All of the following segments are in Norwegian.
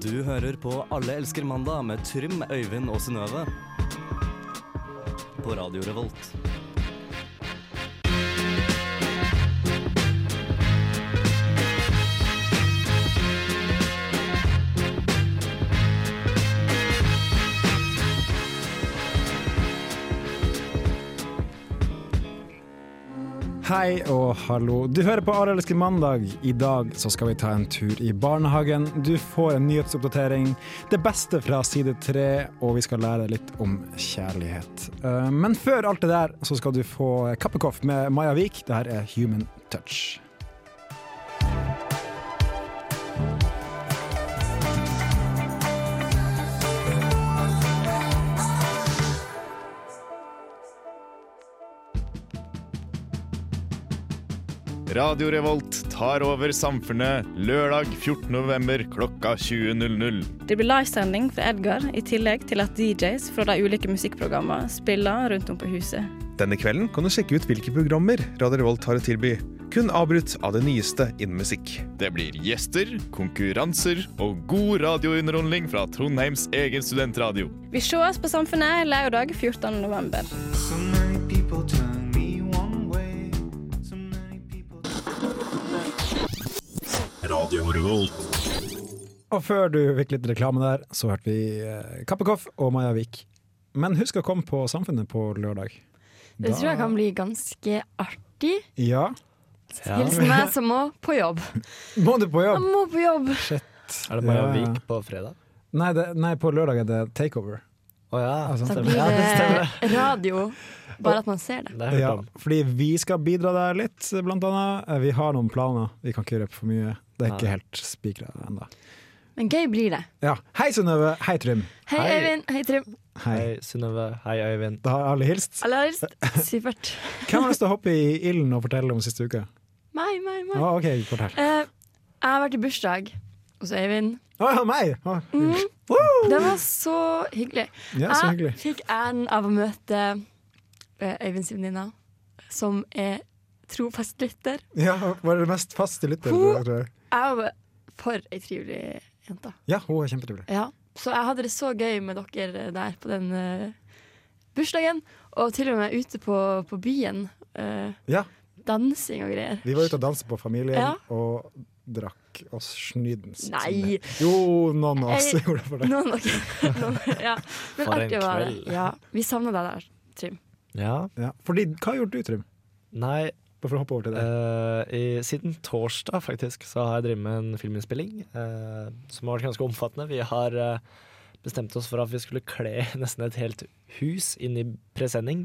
Du hører på Alle elsker mandag med Trym, Øyvind og Synnøve. På Radio Revolt. Hei og hallo. Du hører på Arielske mandag. I dag så skal vi ta en tur i barnehagen. Du får en nyhetsoppdatering, det beste fra side tre, og vi skal lære litt om kjærlighet. Eh, Men før alt det der så skal du få Kappekoff med Maja Vik. Det her er Human Touch. Radio Revolt tar over samfunnet lørdag 14. november klokka 20.00. Det blir livesending fra Edgar, i tillegg til at DJs fra de ulike musikkprogrammene spiller rundt om på huset. Denne kvelden kan du sjekke ut hvilke programmer Radio Revolt har å tilby. Kun avbrutt av det nyeste innen musikk. Det blir gjester, konkurranser og god radiounderholdning fra Trondheims egen studentradio. Vi sees på Samfunnet lørdag 14. november. Og før du fikk litt reklame der, så hørte vi eh, Kappekoff og Maja Vik. Men husk å komme på Samfunnet på lørdag. Det Da- tror jeg kan bli ganske artig. Ja. Hilsen meg som må på jobb. Må du på Jeg jobb? må på jobb! Er det Maja Ja. Vik på fredag? Nei, det, nei, på lørdag er det takeover. Å ja, Altså, Da stemmer. blir Ja, det stemmer. det radio. Bare at man ser det. Det har jeg Ja, hørt om. fordi vi skal bidra der litt, blant annet. Eh, Vi har noen planer, vi kan ikke røpe for mye. Det er ikke Nei. helt spikra ennå. Men gøy blir det. Ja. Hei, Synnøve. Hei, Trym. Hei, Hei. Øyvind. Hei, Trym. Hei, Hei. Synnøve. Hei, Øyvind. Da har alle hilst. Alle har lyst. Supert. Hvem har lyst til å hoppe i ilden og fortelle om siste uke? Meg, meg, meg. Ah, OK, fortell. Eh, jeg har vært i bursdag hos Øyvind. Å ja, meg! Å, Det var så hyggelig. ja, så hyggelig. Jeg fikk æren av å møte eh, Øyvinds venninne, som er trofast lytter. Ja, Var det mest faste lytter? Hun- tror jeg. Jeg var for ei trivelig jente. Ja, hun er kjempetrivelig. Ja. Så jeg hadde det så gøy med dere der på den eh, bursdagen. Og til og med ute på, på byen. eh, Ja, dansing og greier. vi var ute og danset på Familien Ja. og drakk oss snydens. som Nei. det- Jo, noen av oss Jeg- gjorde det for det. Noen, dere- noen, ja. Men For en artig var det. kveld. Ja, vi savna deg der, Trym. Ja. Ja. Fordi, hva har gjort du, Trym? Nei, Bare for å hoppe over til det. eh, i, siden torsdag faktisk så har jeg drevet med en filminnspilling eh, som har vært ganske omfattende. Vi har eh, bestemt oss for at vi skulle kle nesten et helt hus inn i presenning.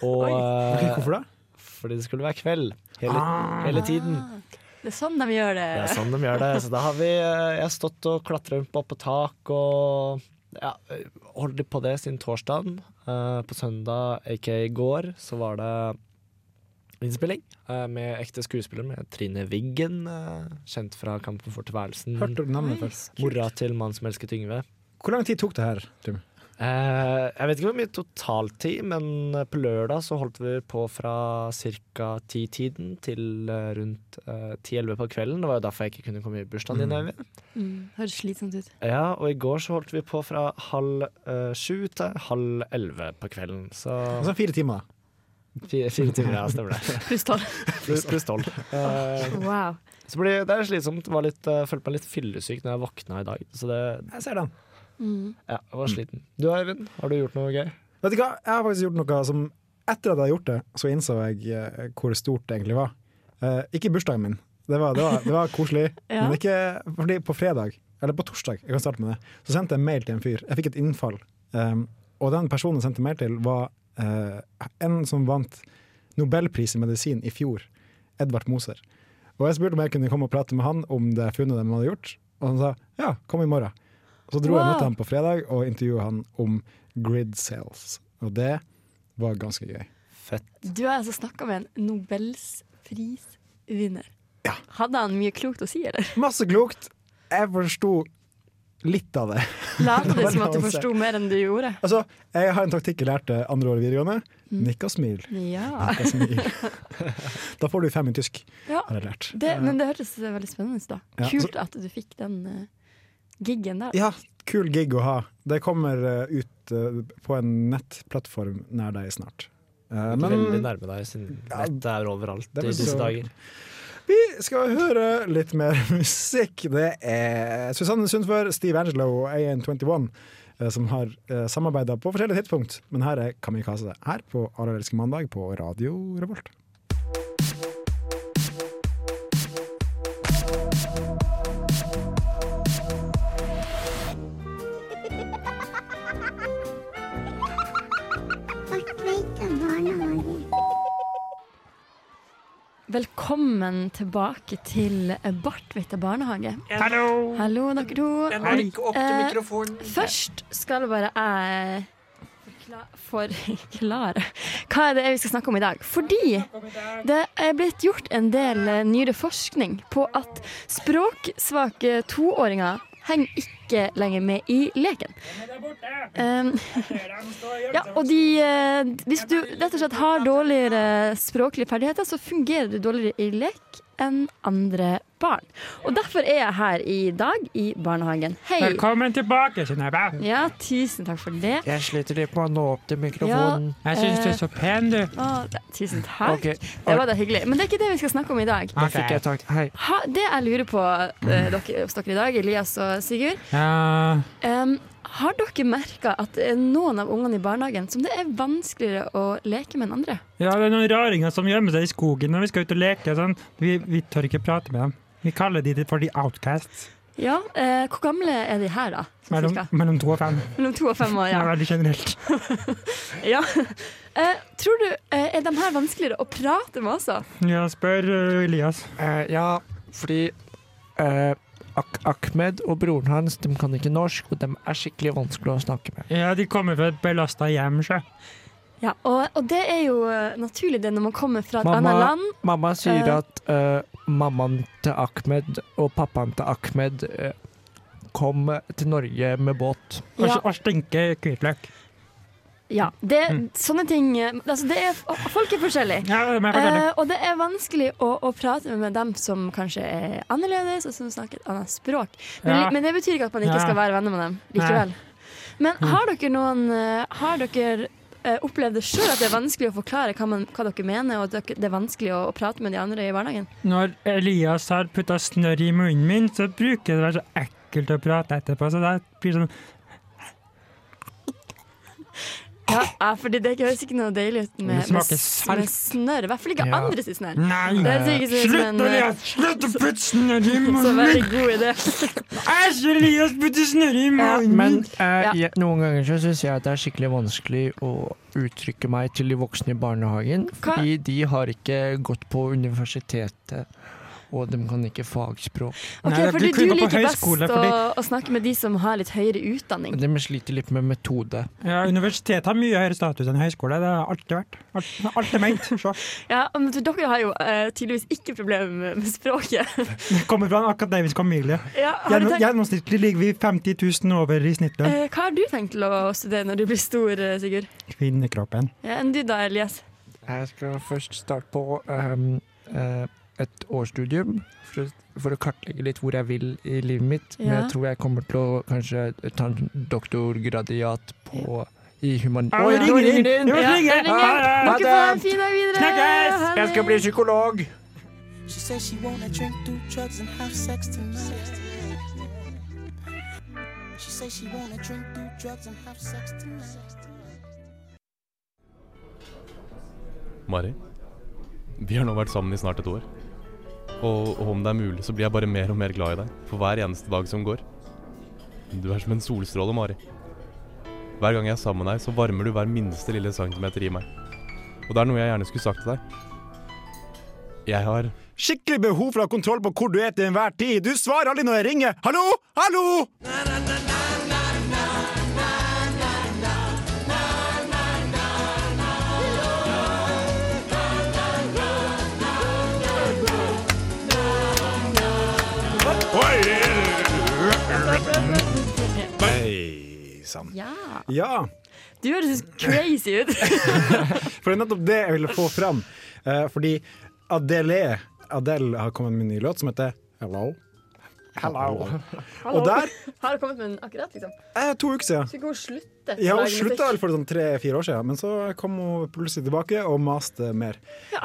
Og eh, Hvorfor Ah. det? Fordi det skulle være kveld hele, hele tiden. Det er sånn de gjør det. Det Eh. er sånn de gjør det. Så da har vi eh, Jeg har stått og klatra opp på tak og ja, holdt på det siden torsdagen. Eh, på søndag, aka i går, så var det innspilling eh, med ekte skuespillere, med Trine Wiggen, eh, kjent fra Kampen for tilværelsen. Hørte du navnet først? Mora til mannen som elsket Yngve. Hvor lang tid tok det her, Trym? Eh, jeg vet ikke hvor mye totaltid, men eh, på lørdag så holdt vi på fra ca. ti-tiden til eh, rundt ti-elleve på kvelden. Det var jo derfor jeg ikke kunne komme i bursdagen din, Mm. Øyvind. Mm, høres slitsomt ut. Ja, og i går så holdt vi på fra halv eh, sju til halv elleve på kvelden. Så Altså fire timer. fire, fire timer, ja, stemmer det. Pluss tolv. Pluss pluss tolv. Eh, Wow. så ble, det er slitsomt. Var litt, eh, følte meg litt fyllesyk når jeg våkna i dag. Så det Jeg ser den. Mm. ja, jeg var sliten. Du Eivind, har du gjort noe gøy? Vet du hva, jeg har faktisk gjort noe som Etter at jeg har gjort det, så innså jeg eh, hvor stort det egentlig var. Eh, ikke bursdagen min. Det var, det var, det var koselig. Ja. Men ikke Fordi på fredag, eller på torsdag, jeg kan starte med det, så sendte jeg en mail til en fyr. Jeg fikk et innfall. Um, og den personen jeg sendte mail til, var eh, en som vant Nobelpris i medisin i fjor. Edvard Moser. Og jeg spurte om jeg kunne komme og prate med han om det funnet de hadde gjort. Og han sa ja, kom i morgen. Og så dro jeg og møtte Wow. ham på fredag og intervjua han om grid sales. Og det var ganske gøy. Fett. Du har altså snakka med en nobelsprisvinner. Hadde han mye klokt å si, eller? Masse klokt. Jeg forsto litt av det. Lata du som at du Balanse. forsto mer enn du gjorde? Altså, jeg har en taktikk jeg lærte andre året videregående. Nikk og smil. Ja. Nikk og smil. da får du fem i tysk, ja. har jeg lært. Det, men det hørtes veldig spennende ut, da. Ja, altså- Kult at du fikk den eh, giggen der. Ja, kul gig å ha. Det kommer eh, ut eh, på en nettplattform nær deg snart. Eh, Veldig men nærme deg, siden nettet er overalt det i er disse så- dager. vi skal høre litt mer musikk. Det er Susanne Sundfør, Steve Angelo og AN21 eh, som har uh, samarbeida på forskjellige tidspunkt. Men her er Kamikaze. Her på Allerelske mandag på Radio Revolt. Velkommen tilbake til Bartvita barnehage. Hallo! Hallo, dere to. Eh, opp til mikrofonen. Først skal bare jeg forkla- forklare hva er det vi skal snakke om i dag. Fordi det er blitt gjort en del eh, nyere forskning på at språksvake toåringer henger ikke lenger med i leken. Um, ja, og de, eh, hvis du rett og slett har dårligere språklige ferdigheter, så fungerer du dårligere i lek enn andre barn. Og derfor er jeg her i dag i barnehagen. Hei. Velkommen tilbake, Synnøve. Ja, tusen takk for det. Jeg sliter litt med å nå opp til mikrofonen. jeg syns du er så pen, du. Å, ne- tusen takk. Ok. Det var da hyggelig. Men det er ikke det vi skal snakke om i dag. Da fikk jeg tak Hei. Ha, det jeg lurer på eh, dere, hos dere i dag, Elias og Sigurd Ja, em, Har dere merka at det er noen av ungene i barnehagen som det er vanskeligere å leke med enn andre? ja, det er noen raringer som gjemmer seg i skogen når vi skal ut og leke. og Sånn. Vi, vi tør ikke prate med dem. Vi kaller de det for de outcasts. Ja, eh, Hvor gamle er de her, da? Sånn Mellom, cirka? mellom to og fem. Mellom to og fem år, Det ja. er veldig generelt. ja. Eh, tror du eh, Er de her vanskeligere å prate med altså? også? Ja, spør eh, Elias. Eh, ja, fordi eh, Ak Ahmed og broren hans de kan ikke norsk, og de er skikkelig vanskelig å snakke med. Ja, de kommer fra et belasta hjem, sjø. Ja, og, og det er jo eh, naturlig det når man kommer fra et Mamma. annet land. Mamma sier Eh. at eh, mammaen til Ahmed og pappaen til Ahmed eh, kom til Norge med båt. Og, Ja. og stinker hvitløk. Ja, det, Mm. Sånne ting eh, altså det er, Folk er forskjellige. Ja, det må jeg fortelle. Eh, og det er vanskelig å, å prate med dem som kanskje er annerledes, og som snakker et annet språk. Men, Ja. men det betyr ikke at man ikke Ja. Mm. skal være venner med dem likevel. Men har dere noen eh, Har dere eh, opplevd det sjøl at det er vanskelig å forklare hva, man, hva dere mener, og at dere- det er vanskelig å, å prate med de andre i barnehagen? Når Elias har putta snørr i munnen min, så bruker det å være så ekkelt å prate etterpå. Så det blir sånn Ja, ja for det, det høres ikke noe deilig ut med, Det med, smaker s- med snørr. I hvert fall ikke Ja. andre sitt snørr. Nei! Det er sikkert sånn Slutt, som en, Elias! Slutt å putte snørr i Så munnen veldig min! god idé. Æsj, Elias putter snørr i munnen Men min! eh, Ja. jeg, noen ganger så syns jeg at det er skikkelig vanskelig å uttrykke meg til de voksne i barnehagen, Hva- fordi de har ikke gått på universitetet, og de kan ikke fagspråk. Ok, Nei, fordi du du kunne på liker best høyskole, å, fordi- å snakke med de som har litt høyere utdanning. De sliter litt med metode. Ja, Universitetet har mye høyere status enn høyskole. Det har alltid vært. Alt, alt er ment. Se. Ja, men for dere har jo eh, tydeligvis ikke problemer med, med språket. Det Kommer fra en akademisk familie. Ja, har du Gjennom, tenkt, gjennomsnittlig ligger vi 50 000 over i snittlønn. eh, hva har du tenkt til å studere når du blir stor, eh, Sigurd? Kvinnekroppen. Ja, enn du da, Elias? Jeg skal først starte på ehm, eh, et årsstudium for, å- for å kartlegge litt hvor jeg vil i livet mitt. Men Ja. jeg tror jeg kommer til å kanskje ta en doktorgradiat på i human... Å, det ringer inn! Jo, det Ja, ringer det inn! ringer. Ja, ja, Ha Dere ja. det. får ha en fin dag videre! Snakkes! Ha det. Jeg skal bli psykolog! She says she wanna drink, do drugs, and have sex tonight. She says she wanna drink, do drugs, and have sex tonight. Mari, vi har nå vært sammen i snart et år. Og, og om det er mulig, så blir jeg bare mer og mer glad i deg for hver eneste dag som går. Du er som en solstråle, Mari. Hver gang jeg er sammen med deg, så varmer du hver minste lille centimeter i meg. Og det er noe jeg gjerne skulle sagt til deg. Jeg har Skikkelig behov for å ha kontroll på hvor du er til enhver tid. Du svarer aldri når jeg ringer. Hallo! Hallo! Hei sann. Ja. Ja. Du høres crazy ut. For det er nettopp det jeg ville få fram. Eh, fordi Adele, Adele har kommet med en ny låt som heter Hello. Hello. Hallo. Og der, Har du kommet med den akkurat, liksom? eh, to uker siden Så ikke hun slutter. Ja, å hun lage slutta musikk. for sånn tre-fire år siden, men så kom hun plutselig tilbake og maste mer.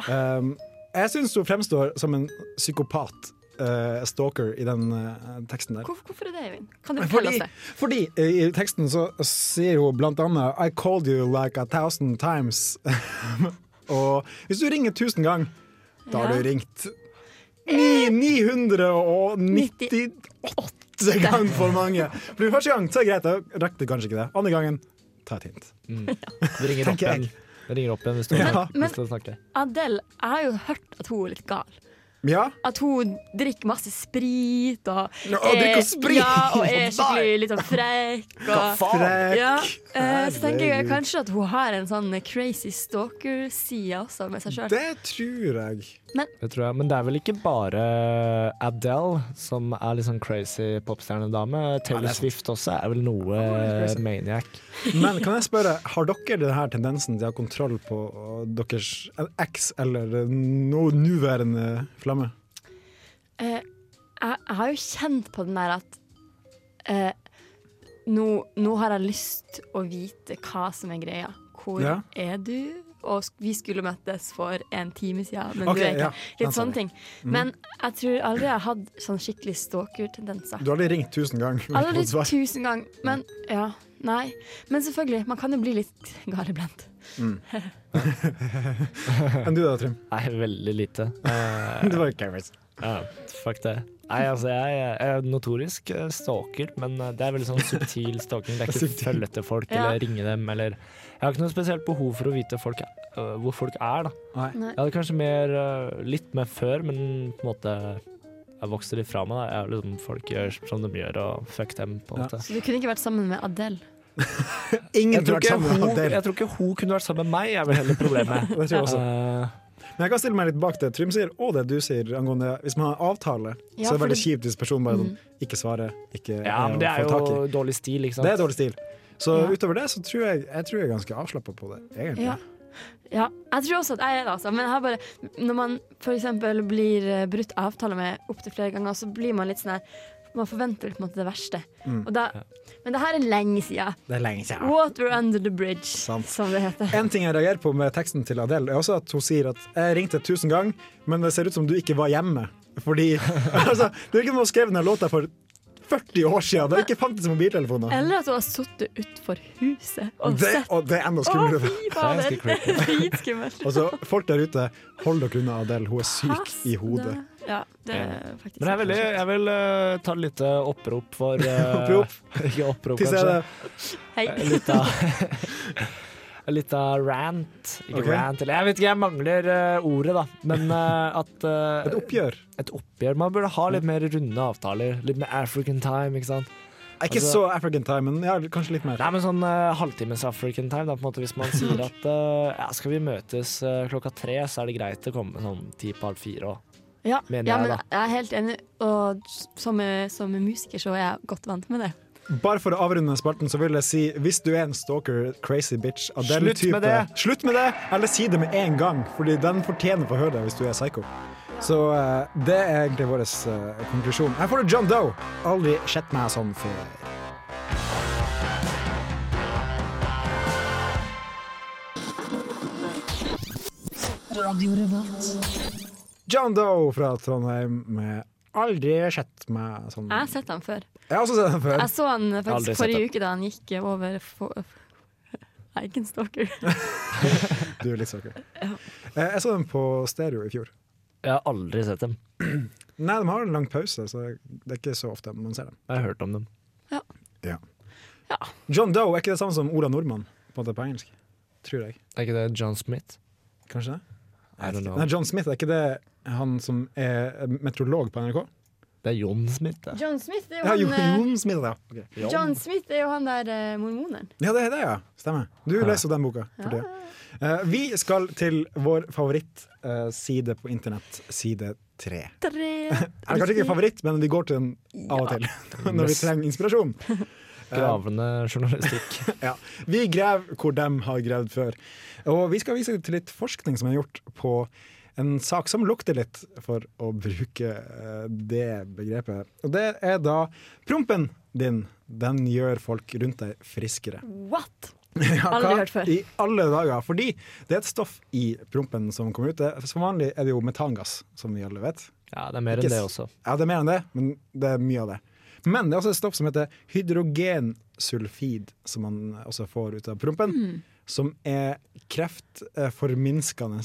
Um, jeg syns hun fremstår som en psykopat. eh, stalker i den eh, teksten der. Hvor, hvorfor er det, Eivind? Kan du Fordi, fortelle oss det? fordi eh, i teksten så sier hun blant annet I called you like a thousand times. og hvis du ringer tusen gang, da har Ja. Eh, du ringt ni- 998 ganger for mange. For første gang så er det greit, da rakk du kanskje ikke det. Andre gangen, ta et hint. Du ringer opp Tenker igjen. jeg. Du ringer opp igjen hvis du Ja. har Men- lyst til å snakke. Adele, jeg har jo hørt at hun er litt gal. Ja. At hun drikker masse sprit og Ja, hun drikker er- sprit! Ja, og er skikkelig litt sånn frekk. Hva Og, faen? Frekk. Ja, eh, så tenker jeg Herregud. kanskje at hun har en sånn crazy stalker-side også med seg sjøl. Det tror jeg. Det tror jeg. Men det er vel ikke bare Adele som er litt sånn crazy popstjernedame. Taylor Swift også er vel noe litt crazy. maniac. Men kan jeg spørre, har dere denne tendensen til å ha kontroll på eh, deres eks eller eh, no, nåværende flamme? Eh, jeg, jeg har jo kjent på den der at eh, nå, nå har jeg lyst å vite hva som er greia. Hvor Ja. er du? Og sk- vi skulle møttes for en time siden, men Ok, du er ikke ja, den Litt sa vi. sånne ting. Mm. Men jeg tror aldri jeg har hatt sånn skikkelig stalker-tendenser. Du har aldri ringt tusen ganger? og ikke Aldri fått svar. tusen ganger. Men ja, nei. Men selvfølgelig, man kan jo bli litt gal iblant. Mm. Enn du da, Trym? Nei, veldig lite. Eh, Det var ikke Iris. Ja, fuck det. Nei, altså, jeg er notorisk eh, stalker, men eh, det er veldig sånn subtil stalking. Det er ikke Subtil. følge etter folk Ja. eller ringe dem eller Jeg har ikke noe spesielt behov for å vite folk, eh, hvor folk er, da. Nei. Nei. Jeg hadde kanskje mer, eh, litt mer før, men på en måte Jeg vokste litt fra meg. Da. Jeg er liksom, folk gjør som de gjør, og fuck dem, på en Ja. måte. Så du kunne ikke vært sammen med Adele? Ingen Jeg tror tror, vært ikke sammen med hun, Adele. jeg tror ikke hun kunne vært sammen med meg, er vel heller problemet. Det tror jeg også. Eh, Men jeg kan stille meg litt bak det Trym sier, og det du sier angående hvis man har en avtale. så er Ja, det for veldig det- kjipt hvis personen bare sånn, Mm. ikke svarer, ikke ja, er men å det er få tak i. jo dårlig stil, ikke sant. Det er dårlig stil. Så Ja. utover det så tror jeg jeg tror jeg er ganske avslappa på det, egentlig. Ja. ja. Jeg tror også at jeg er det, altså. Men jeg har bare, når man f.eks. blir eh, brutt avtale med opptil flere ganger, så blir man litt sånn her Man forventer på en måte det verste. Mm. Og da, men det her er lenge siden. Det er lenge siden. Water under the bridge, Sant. som det heter. En ting jeg reagerer på med teksten til Adele, er også at hun sier at jeg ringte tusen ganger, men det ser ut som du ikke var hjemme. Fordi altså, Det er ikke noe hun skrev denne låta for 40 år siden. Det har ikke fantes mobiltelefoner. Eller at hun har sittet utfor huset og Det, sett og det er enda Å, skumlere. fy fader! Det er ganske Dritskummelt. Altså, folk der ute, hold dere unna Adele. Hun er syk i hodet. Ja, det er faktisk Men jeg, er veldig, jeg vil eh, ta et lite opprop for eh, Opprop? Ikke opprop, Til kanskje. stedet. Hei. Eh, Litt av Litt av rant. Ikke Ok. rant, eller jeg vet ikke, jeg mangler eh, ordet, da. Men eh, at eh, Et oppgjør. et oppgjør Man burde ha litt mer runde avtaler. Litt mer African time, ikke sant. Er ikke Altså- så African time, men ja, kanskje litt mer. Nei, men sånn eh, halvtimes African time, da, på en måte, hvis man sier at eh, ja, skal vi møtes eh, klokka tre, så er det greit å komme sånn ti på halv fire og Ja, ja, Mener men jeg, jeg da. er helt enig, og som, som musiker så er jeg godt vant med det. Bare for å avrunde spalten, så vil jeg si hvis du er en stalker, crazy bitch av den Slutt type, med det! Slutt med det! Eller si det med en gang, Fordi den fortjener å få høre det hvis du er psycho. Så eh, det er egentlig vår eh, konklusjon. Her får du John Doe. Aldri sett meg sånn før. John Doe fra Trondheim med 'Aldri sett meg sånn'. Jeg har sett han før. Jeg har også sett den før. Jeg så han Aldri faktisk sett forrige han. uke da han gikk over for... Jeg er ikke en stalker. Du er litt stalker. Eh, Jeg så den på stereo i fjor. Jeg har aldri sett dem. Nei, de har en lang pause, så det er ikke så ofte man ser dem. Jeg har hørt om dem. John Doe er ikke det samme som Ola Nordmann på, en måte på engelsk. Tror jeg. Er ikke det John Smith? Kanskje det? I don't know. Nei, John Smith, er ikke det han som er meteorolog på NRK? Det er John Smith, det. John Smith er eh, Ja, Jo- Jon Smith, ja. Ok. John Smith er jo han der eh, mormoneren. Ja, det er det, ja. Stemmer. Du leser den boka for tida. Eh, Vi skal til vår favorittside på internett, side tre. Tre. Er det kanskje ikke favoritt, men vi går til den av og til når vi trenger inspirasjon. Eh, Gravende journalistikk. Ja. Vi graver hvor de har gravd før. Og vi skal vise til litt forskning som er gjort på en sak som lukter litt, for å bruke eh, det begrepet. Og det er da prompen din. Den gjør folk rundt deg friskere. What? Ja, Mm. Aldri hva hørt før. I alle dager. Fordi det er et stoff i prompen som kommer ut. Det- Som vanlig er det jo metangass, som vi alle vet. Ja, det er mer enn Ikke det s- også. Ja, det er mer enn det, men det er mye av det. Men det er også et stoff som heter hydrogensulfid, som man også får ut av prompen. Mm. Som er kreftforminskende,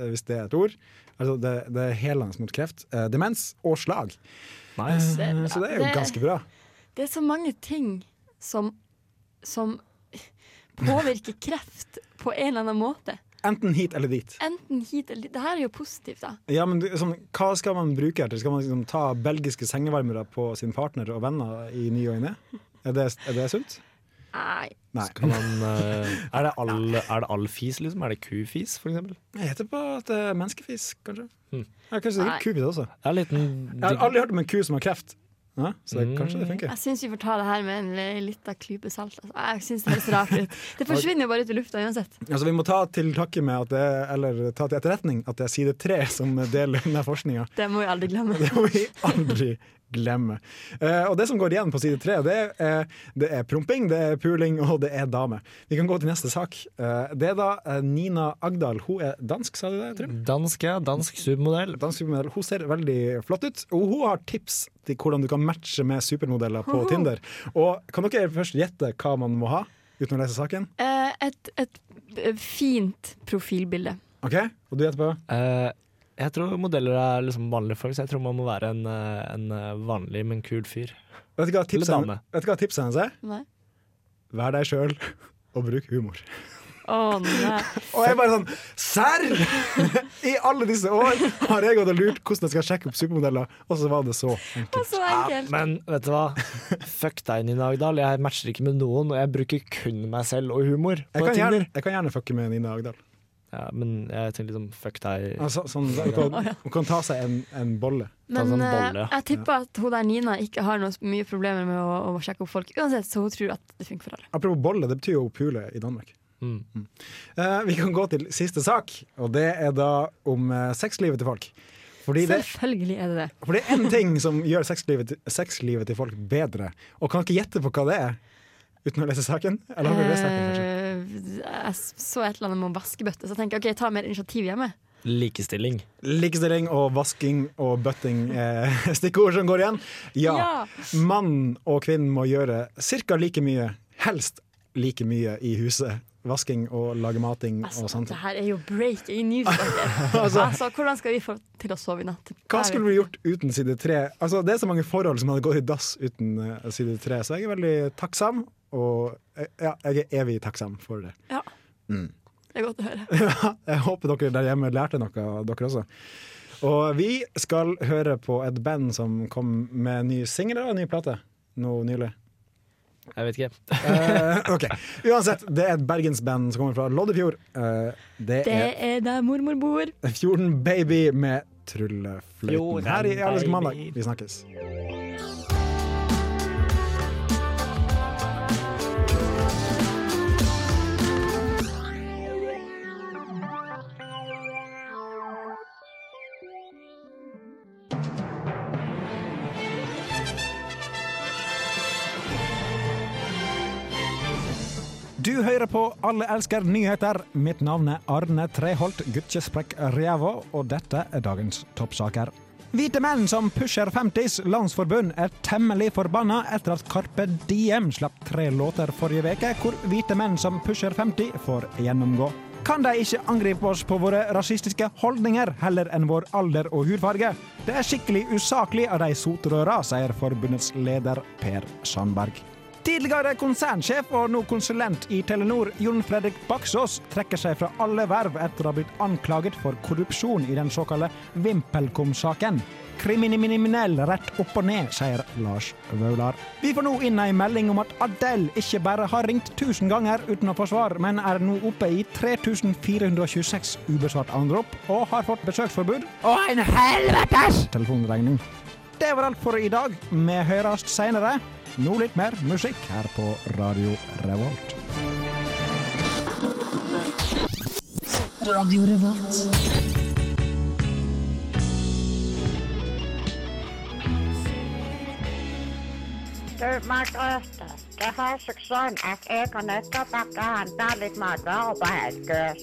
eh, hvis det er et ord. Altså det, det er helende mot kreft, eh, demens og slag. Nice. Eh, Så det er jo Det- ganske bra. Det er så mange ting som, som påvirker kreft på en eller annen måte. Enten hit eller dit. Enten hit eller dit. Det her er jo positivt, da. Ja, men du- sånn, Hva skal man bruke her til? Skal man liksom ta belgiske sengevarmere på sin partner og venner i ny og i ne? Er, det- er det sunt? Nei. Nei. Skal man, eh, er, det all, er det all fis, liksom? Er det kufis, for eksempel? Jeg heter på at det er menneskefis, kanskje. Hmm. Ja, kanskje det Nei. er kubid også. Det er en liten Jeg har aldri hørt om en ku som har kreft. Ja, så det, Mm. kanskje det funker. Jeg syns vi får ta det her med en li- lita klype salt. Altså. Jeg syns det høres rart ut. Det forsvinner jo bare ut i lufta uansett. Altså, vi må ta til takke med at det er, eller ta til etterretning at det er side tre som deler denne forskninga. Det må vi aldri glemme. Det må vi aldri glemme. Eh, og det som går igjen på side tre, det er, det er promping, det er puling og det er dame. Vi kan gå til neste sak. Eh, det er da eh, Nina Agdal. Hun er dansk, sa du det, Trym? Dansk, ja. Dansk supermodell. Dansk supermodell. Hun ser veldig flott ut, og hun har tips til hvordan du kan matche med supermodeller på Hoho. Tinder. Og kan dere først gjette hva man må ha, uten å lese saken? Eh, Et, et fint profilbilde. Ok, Og du gjetter på? Eh, jeg tror modeller er liksom vanlige folk, så jeg tror man må være en, eh, en eh, vanlig, men kul fyr. Vet du hva tipset, Eller dame. hennes- vet du hva tipset hennes er? Nei. Vær deg sjøl, og bruk humor. Å nei. Og jeg bare sånn Serr! I alle disse år har jeg gått og lurt hvordan jeg skal sjekke opp supermodeller, og så var det så enkelt. Så Ja, enkelt. men vet du hva? Fuck deg, Nina Agdal. Jeg matcher ikke med noen, og jeg bruker kun meg selv og humor på Jeg kan Tinder. gjerne, jeg kan gjerne fucke med Nina Agdal. Ja, men jeg tenkte liksom fuck deg. Altså, sånn, hun, kan, hun kan ta seg en, en sånn bolle. Men sånn eh, jeg tipper at hun der Nina ikke har noe mye problemer med å, å sjekke opp folk uansett, så hun tror at det funker for alle. Apropos bolle, det betyr jo pule i Danmark. Mm. Eh, vi kan gå til siste sak, og det er da om eh, sexlivet til folk. Fordi det, Selvfølgelig er det det. for det er én ting som gjør sexlivet, til- sexlivet til folk bedre, og kan ikke gjette på hva det er uten å lese saken. Eller har vi lest saken, kanskje? Eh, jeg så et eller annet med vaskebøtte, så jeg tenker OK, ta mer initiativ hjemme. Likestilling. Likestilling og vasking og bøtting er stikkord som går igjen. Ja. Mann og kvinne må gjøre ca. like mye, helst like mye, i huset. Vasking og lage mating og sånt. Altså, Det her er jo breaking news, dere. Altså- altså, hvordan skal vi få til å sove i natt? Hva skulle vi gjort uten side tre? Altså, det er så mange forhold som hadde gått i dass uten eh, side tre, så jeg er veldig takksam, og eh, ja, jeg er evig takksam for det. Ja. Mm. Det er godt å høre. Ja, jeg håper dere der hjemme lærte noe av dere også. Og vi skal høre på et band som kom med en ny singel og en ny plate nå nylig. Jeg vet ikke. Eh, ok, Uansett, det er et bergensband som kommer fra Loddefjord. Eh, det Det er er der mormor bor. Fjorden Baby med Tryllefløyten. Fjorden Her i Allerske Baby. mandag. Vi snakkes. Du hører på Alle elsker nyheter. Mitt navn er Arne Treholt Guttjesprekk Ræva, og dette er dagens toppsaker. Hvite menn som pusher 50s landsforbund er temmelig forbanna etter at Carpe Diem slapp tre låter forrige veke hvor hvite menn som pusher 50 får gjennomgå. Kan de ikke angripe oss på våre rasistiske holdninger heller enn vår alder og hudfarge? Det er skikkelig usaklig av de sotrøra, sier forbundets leder Per Sandberg. Tidligere konsernsjef og nå konsulent i Telenor, Jon Fredrik Baksås, trekker seg fra alle verv etter å ha blitt anklaget for korrupsjon i den såkalte VimpelCom-saken. Kriminell rett opp og ned, sier Lars Vaular. Vi får nå inn ei melding om at Adele ikke bare har ringt 1000 ganger uten å få svar, men er nå oppe i 3426 ubesvart anrop og har fått besøksforbud. Og en helvetes telefonregning! Det var alt for i dag. Vi høres seinere. Nå litt mer musikk her på Radio Revolt. Radio Revolt. Du, Margrethe, det har seg sånn at jeg og Nøkkerbakke handler litt matvarer på Helgøs.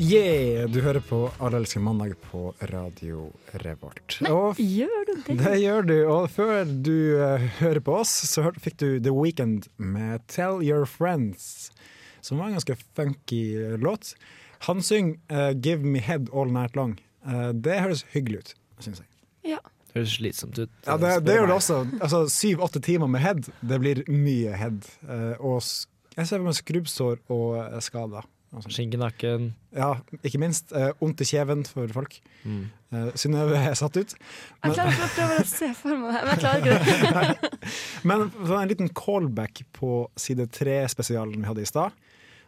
Yeah! Du hører på Alle elsker mandag på Radio Revolt. Nei, Og gjør du det? Det gjør du, og før du eh, hører på oss, så hør- fikk du The Weekend med Tell Your Friends, som var en ganske funky eh, låt. Han synger eh, Give Me Head All Night Long. Eh, det høres hyggelig ut, syns jeg. Høres slitsomt ut. Ja, det, spør det gjør det meg. også. Altså, Syv-åtte timer med head, det blir mye head. Eh, og s- jeg ser for meg skrubbsår og eh, skader. Skink i nakken. Ja, ikke minst. eh, Vondt i kjeven for folk. Mm. Eh, Synnøve er satt ut. Jeg klarer ikke å prøve å se for meg det, men jeg klarer ikke det. Men sånn en liten callback på side tre-spesialen vi hadde i stad,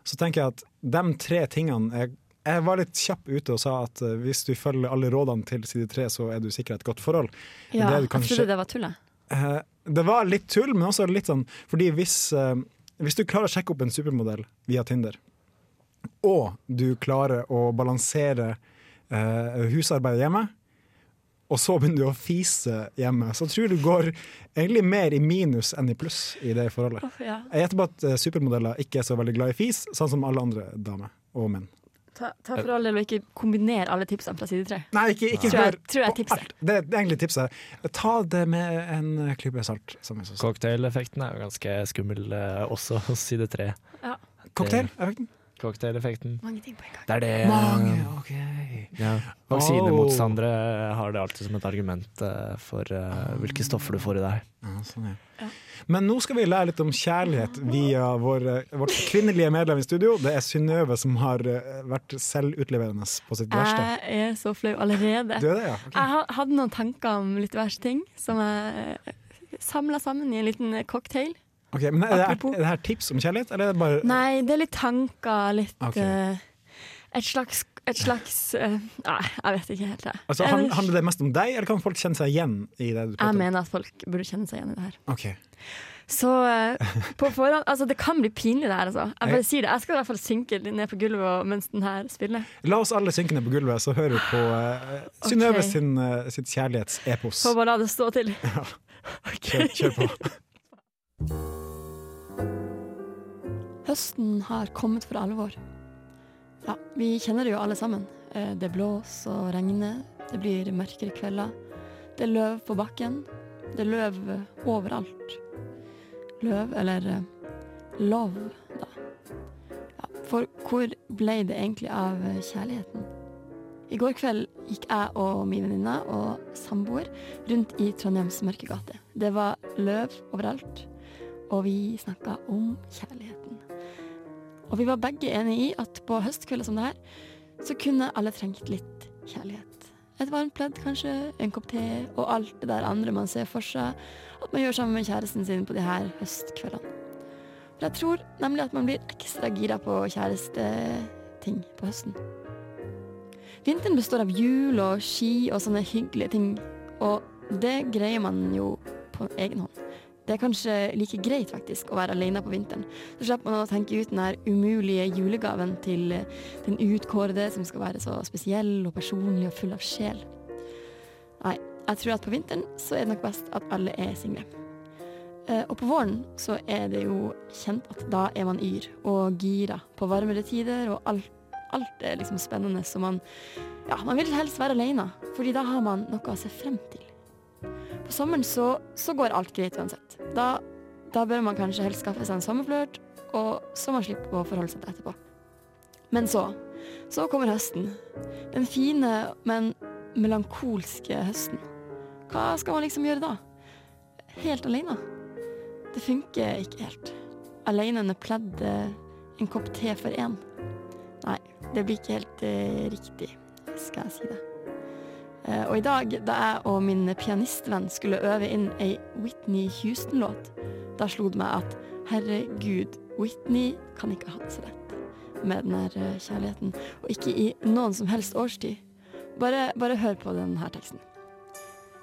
så tenker jeg at de tre tingene jeg, jeg var litt kjapp ute og sa at eh, hvis du følger alle rådene til side tre, så er du sikra et godt forhold. Ja, Det er jeg kanskje- trodde det var tullet. Eh, det var litt tull, men også litt sånn Fordi hvis, eh, hvis du klarer å sjekke opp en supermodell via Tinder, og du klarer å balansere eh, husarbeidet hjemme, og så begynner du å fise hjemme, så tror jeg du går egentlig mer i minus enn i pluss i det forholdet. Uff, ja. Jeg gjetter på at eh, supermodeller ikke er så veldig glad i fis, sånn som alle andre damer og menn. Ta, ta for all del og ikke kombiner alle tipsene fra side tre. Nei, Eh. ikke, ikke tror jeg, hør tror jeg tipset. Det er egentlig tipset. Ta det med en eh, klype salt. Som jeg så sa. Cocktaileffekten er jo ganske skummel eh, også hos side tre. Ja. Cocktaileffekten? Cocktaileffekten. Mange ting på en gang. Det er det Mange, ok. ja. Vaksinemotstandere har det alltid som et argument eh, for eh, hvilke stoffer du får i deg. Ja, sånn, ja. Men nå skal vi lære litt om kjærlighet via vår, eh, vårt kvinnelige medlem i studio. Det er Synnøve som har eh, vært selvutleverende på Eh, sitt verste. Jeg er så flau allerede. Du er det, ja? Ok. Jeg ha- hadde noen tanker om litt verste ting som jeg samla sammen i en liten cocktail. Ok, men er det, her, er det her tips om kjærlighet, eller er det bare Nei, det er litt tanker, litt Ok. eh, Et slags, et slags eh, Nei, jeg vet ikke helt. Jeg, altså, han- Handler det mest om deg, eller kan folk kjenne seg igjen i det du jeg prater om? mener at folk burde kjenne seg igjen i det her. Ok. Så eh, på forhånd Altså, det kan bli pinlig, det her, altså. Jeg Jeg- bare sier det. Jeg skal i hvert fall synke ned på gulvet og- mens den her spiller. La oss alle synke ned på gulvet, så hører vi på uh, Synnøve Ok. sin, eh, sitt kjærlighetsepos. Får bare la det stå til. Kjør, kjør på. Høsten har kommet for alvor. Ja, vi kjenner det jo alle sammen. Eh, Det blås og regner, det blir mørkere kvelder. Det er løv på bakken, det er løv eh, overalt. Løv, eller eh, lov, da. Ja, for hvor ble det egentlig av eh, kjærligheten? I går kveld gikk jeg og min venninne og samboer rundt i Trondheims mørke gate. Det var løv overalt, og vi snakka om kjærligheten. Og vi var begge enige i at på høstkvelder som det her, så kunne alle trengt litt kjærlighet. Et varmt pledd kanskje, en kopp te og alt det der andre man ser for seg at man gjør sammen med kjæresten sin på de her høstkveldene. For jeg tror nemlig at man blir ekstra gira på kjæresteting på høsten. Vinteren består av jul og ski og sånne hyggelige ting, og det greier man jo på egen hånd. Det er kanskje like greit faktisk å være alene på vinteren. Så slipper man å tenke ut den her umulige julegaven til eh, den utkårede som skal være så spesiell og personlig og full av sjel. Nei, jeg tror at på vinteren så er det nok best at alle er single. Eh, Og på våren så er det jo kjent at da er man yr og gira på varmere tider, og alt, alt er liksom spennende, så man Ja, man vil helst være alene, fordi da har man noe å se frem til. På sommeren så, så går alt greit uansett. Da, da bør man kanskje helst skaffe seg en sommerflørt, og så man slipper å forholde seg til etterpå. Men så, så kommer høsten. Den fine, men melankolske høsten. Hva skal man liksom gjøre da? Helt alene? Det funker ikke helt. Alene under pleddet, en kopp te for én. Nei, det blir ikke helt eh, riktig, skal jeg si det. Eh, Og i dag, da jeg og min pianistvenn skulle øve inn ei Whitney Houston-låt, da slo det meg at herregud, Whitney kan ikke ha det så lett med den her eh, kjærligheten. Og ikke i noen som helst årstid. Bare, bare hør på denne teksten.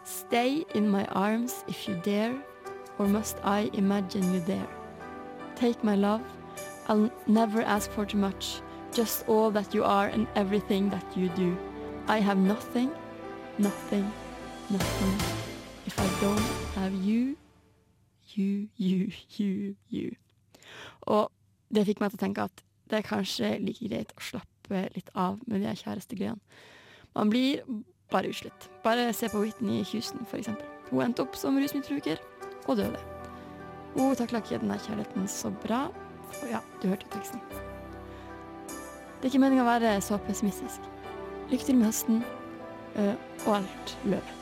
Stay in my arms if you dare, or must I imagine you there? Take my love, I'll never ask for too much, just all that you are and everything that you do. I have nothing, nothing, nothing, if I don't have you, you, you, you, you. Og det fikk meg til å tenke at det er kanskje like greit å slappe litt av med de kjærestegreiene. Man blir bare utslitt. Bare se på Whitney Houston, for eksempel. Hun endte opp som rusmisbruker og døde. Hun takla ikke den der kjærligheten så bra. Og ja, du hørte jo teksten. Det er ikke meninga å være så pessimistisk. Lykke til med høsten øh, og alt løvet.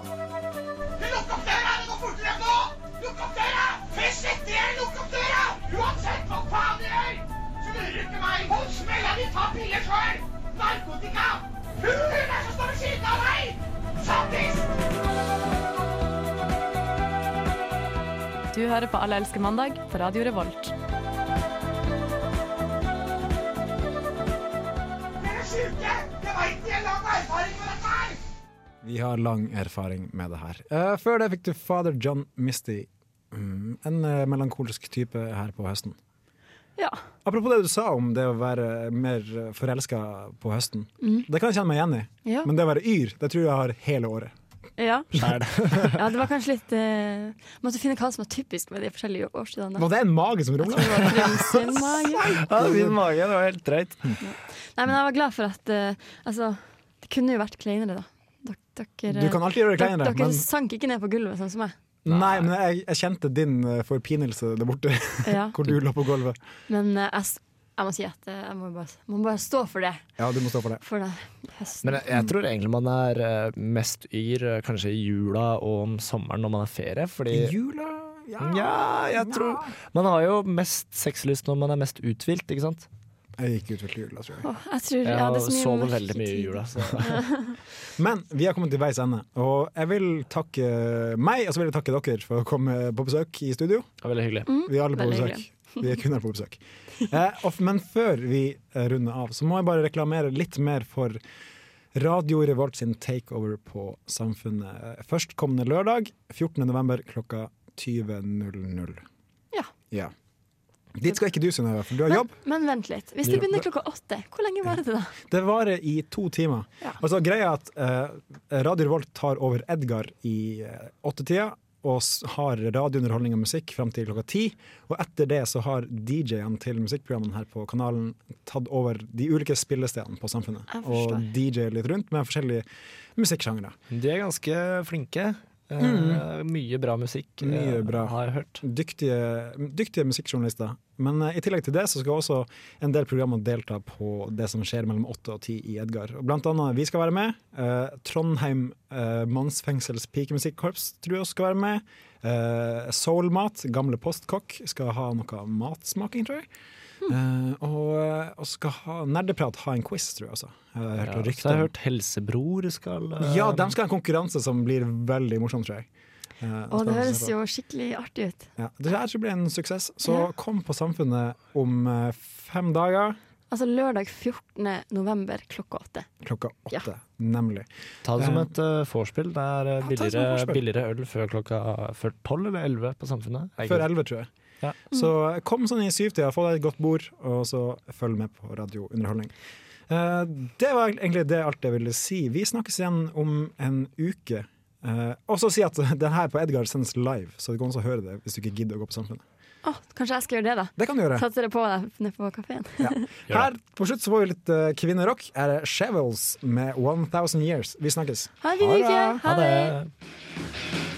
Lukk opp døra! Det går fortere nå! Lukk opp døra! Fes etter dere! Lukk opp døra! Uansett hva faen dere gjør, så lurer du ikke meg. Hold smella di! Ta piller sjøl! Narkotika! Hun der som står ved siden av deg! Sattis! Du hører på Alle elsker mandag på Radio Revolt. Dere er sjuke! Jeg veit de har lang erfaring med dette her! Vi har lang erfaring med det her. Eh, før det fikk du Father John Misty. Mm, en eh, melankolsk type her på høsten. Ja. Apropos det du sa om det å være mer forelska på høsten. Mm. Det kan jeg kjenne meg igjen i, Ja. men det å være yr, det tror jeg jeg har hele året. Ja. Skjær det. ja, det var kanskje litt eh, Måtte finne hva som var typisk med de forskjellige årstidene. Var det en mage som rumla? Sin mage. Ja, min mage. Det var helt drøyt. Nei, men jeg var glad for at eh, Altså, det kunne jo vært kleinere, da. Dere, dere, Du kan alltid gjøre det kleinere, Dere, men- dere sank ikke ned på gulvet, sånn som meg. Nei, men jeg, jeg kjente din eh, forpinelse der borte, Ja. hvor du lå på gulvet. Men eh, jeg, s- jeg må si at eh, jeg må bare, må bare stå for det. Ja, du må stå for det. For det høsten. Men jeg, jeg tror egentlig man er eh, mest yr eh, kanskje i jula og om sommeren når man har ferie. Fordi Jula? Ja, jeg tror Man har jo mest sexlyst når man er mest uthvilt, ikke sant? Jeg gikk uthvilt i jula, tror jeg. Åh, jeg tror, ja, det er så mye sover mørketid. veldig mye i jula. Så. Men vi har kommet til veis ende, og jeg vil takke meg, og så vil jeg takke dere for å komme på besøk i studio. Det var veldig hyggelig. Vi er alle på Mm, Veldig besøk. hyggelig. Vi er kun her på besøk. Eh, og, f- men før vi eh, runder av, så må jeg bare reklamere litt mer for Radio Revolt sin takeover på Samfunnet. Førstkommende lørdag, 14. november klokka 20.00. Ja. Ja. Dit skal ikke du, Synnøve, for du har jobb. Men vent litt. Hvis Ja. det begynner klokka åtte, hvor lenge var det da? Det varer i to timer. Og så greia er at eh, Radio Revolt tar over Edgar i eh, åttetida. Og s- har radiounderholdning og musikk fram til klokka ti. Og etter det så har DJ-ene til musikkprogrammene her på kanalen tatt over de ulike spillestedene på Samfunnet. Jeg Og forstår. DJ-er litt rundt med forskjellige musikksjangre. De er ganske flinke. Eh, Mm. Mye bra musikk. eh, Mye bra. Har jeg hørt. Dyktige, dyktige musikkjournalister. Men eh, i tillegg til det så skal også en del programmer delta på det som skjer mellom åtte og ti i Edgar. Og blant annet vi skal være med. eh, Trondheim eh, mannsfengsels pikemusikkorps tror jeg skal være med. Eh, Soulmat, gamle postkokk, skal ha noe matsmaking, tror jeg. Hmm. Eh, og, og skal ha Nerdeprat ha en quiz, tror jeg også. Eh, Jeg har hørt Ja, så rykter jeg har om- hørt Helsebror skal eh, Ja, de skal ha en konkurranse som blir veldig morsom, tror jeg. Eh, Og det spennende å se høres på. jo skikkelig artig ut. Ja, det her tror jeg blir en suksess. Så Ja. kom på Samfunnet om eh, fem dager Altså lørdag 14. november klokka åtte. klokka Ja. åtte, nemlig. Ta det som Eh, et eh, vorspiel. Det er eh, ta det som et billigere, vorspiel. billigere øl før klokka før tolv eller elleve på Samfunnet. Er ikke Før det? elleve, tror jeg. Så eh, kom sånn i syvtida, få deg et godt bord, og så følg med på radiounderholdning. Eh, det var egentlig det alt jeg ville si. Vi snakkes igjen om en uke. Eh, og så si at den her på Edgar sendes live, så det går an å høre det hvis du ikke gidder å gå på Samfunnet. Å, kanskje jeg skal gjøre det, da. Det kan du gjøre. Satser det på deg nede på kafeen. Her på slutt så får vi litt eh, kvinnerock. Her er Shevels med 1000 Years. Vi snakkes. Ha en fin uke! Ha det! det.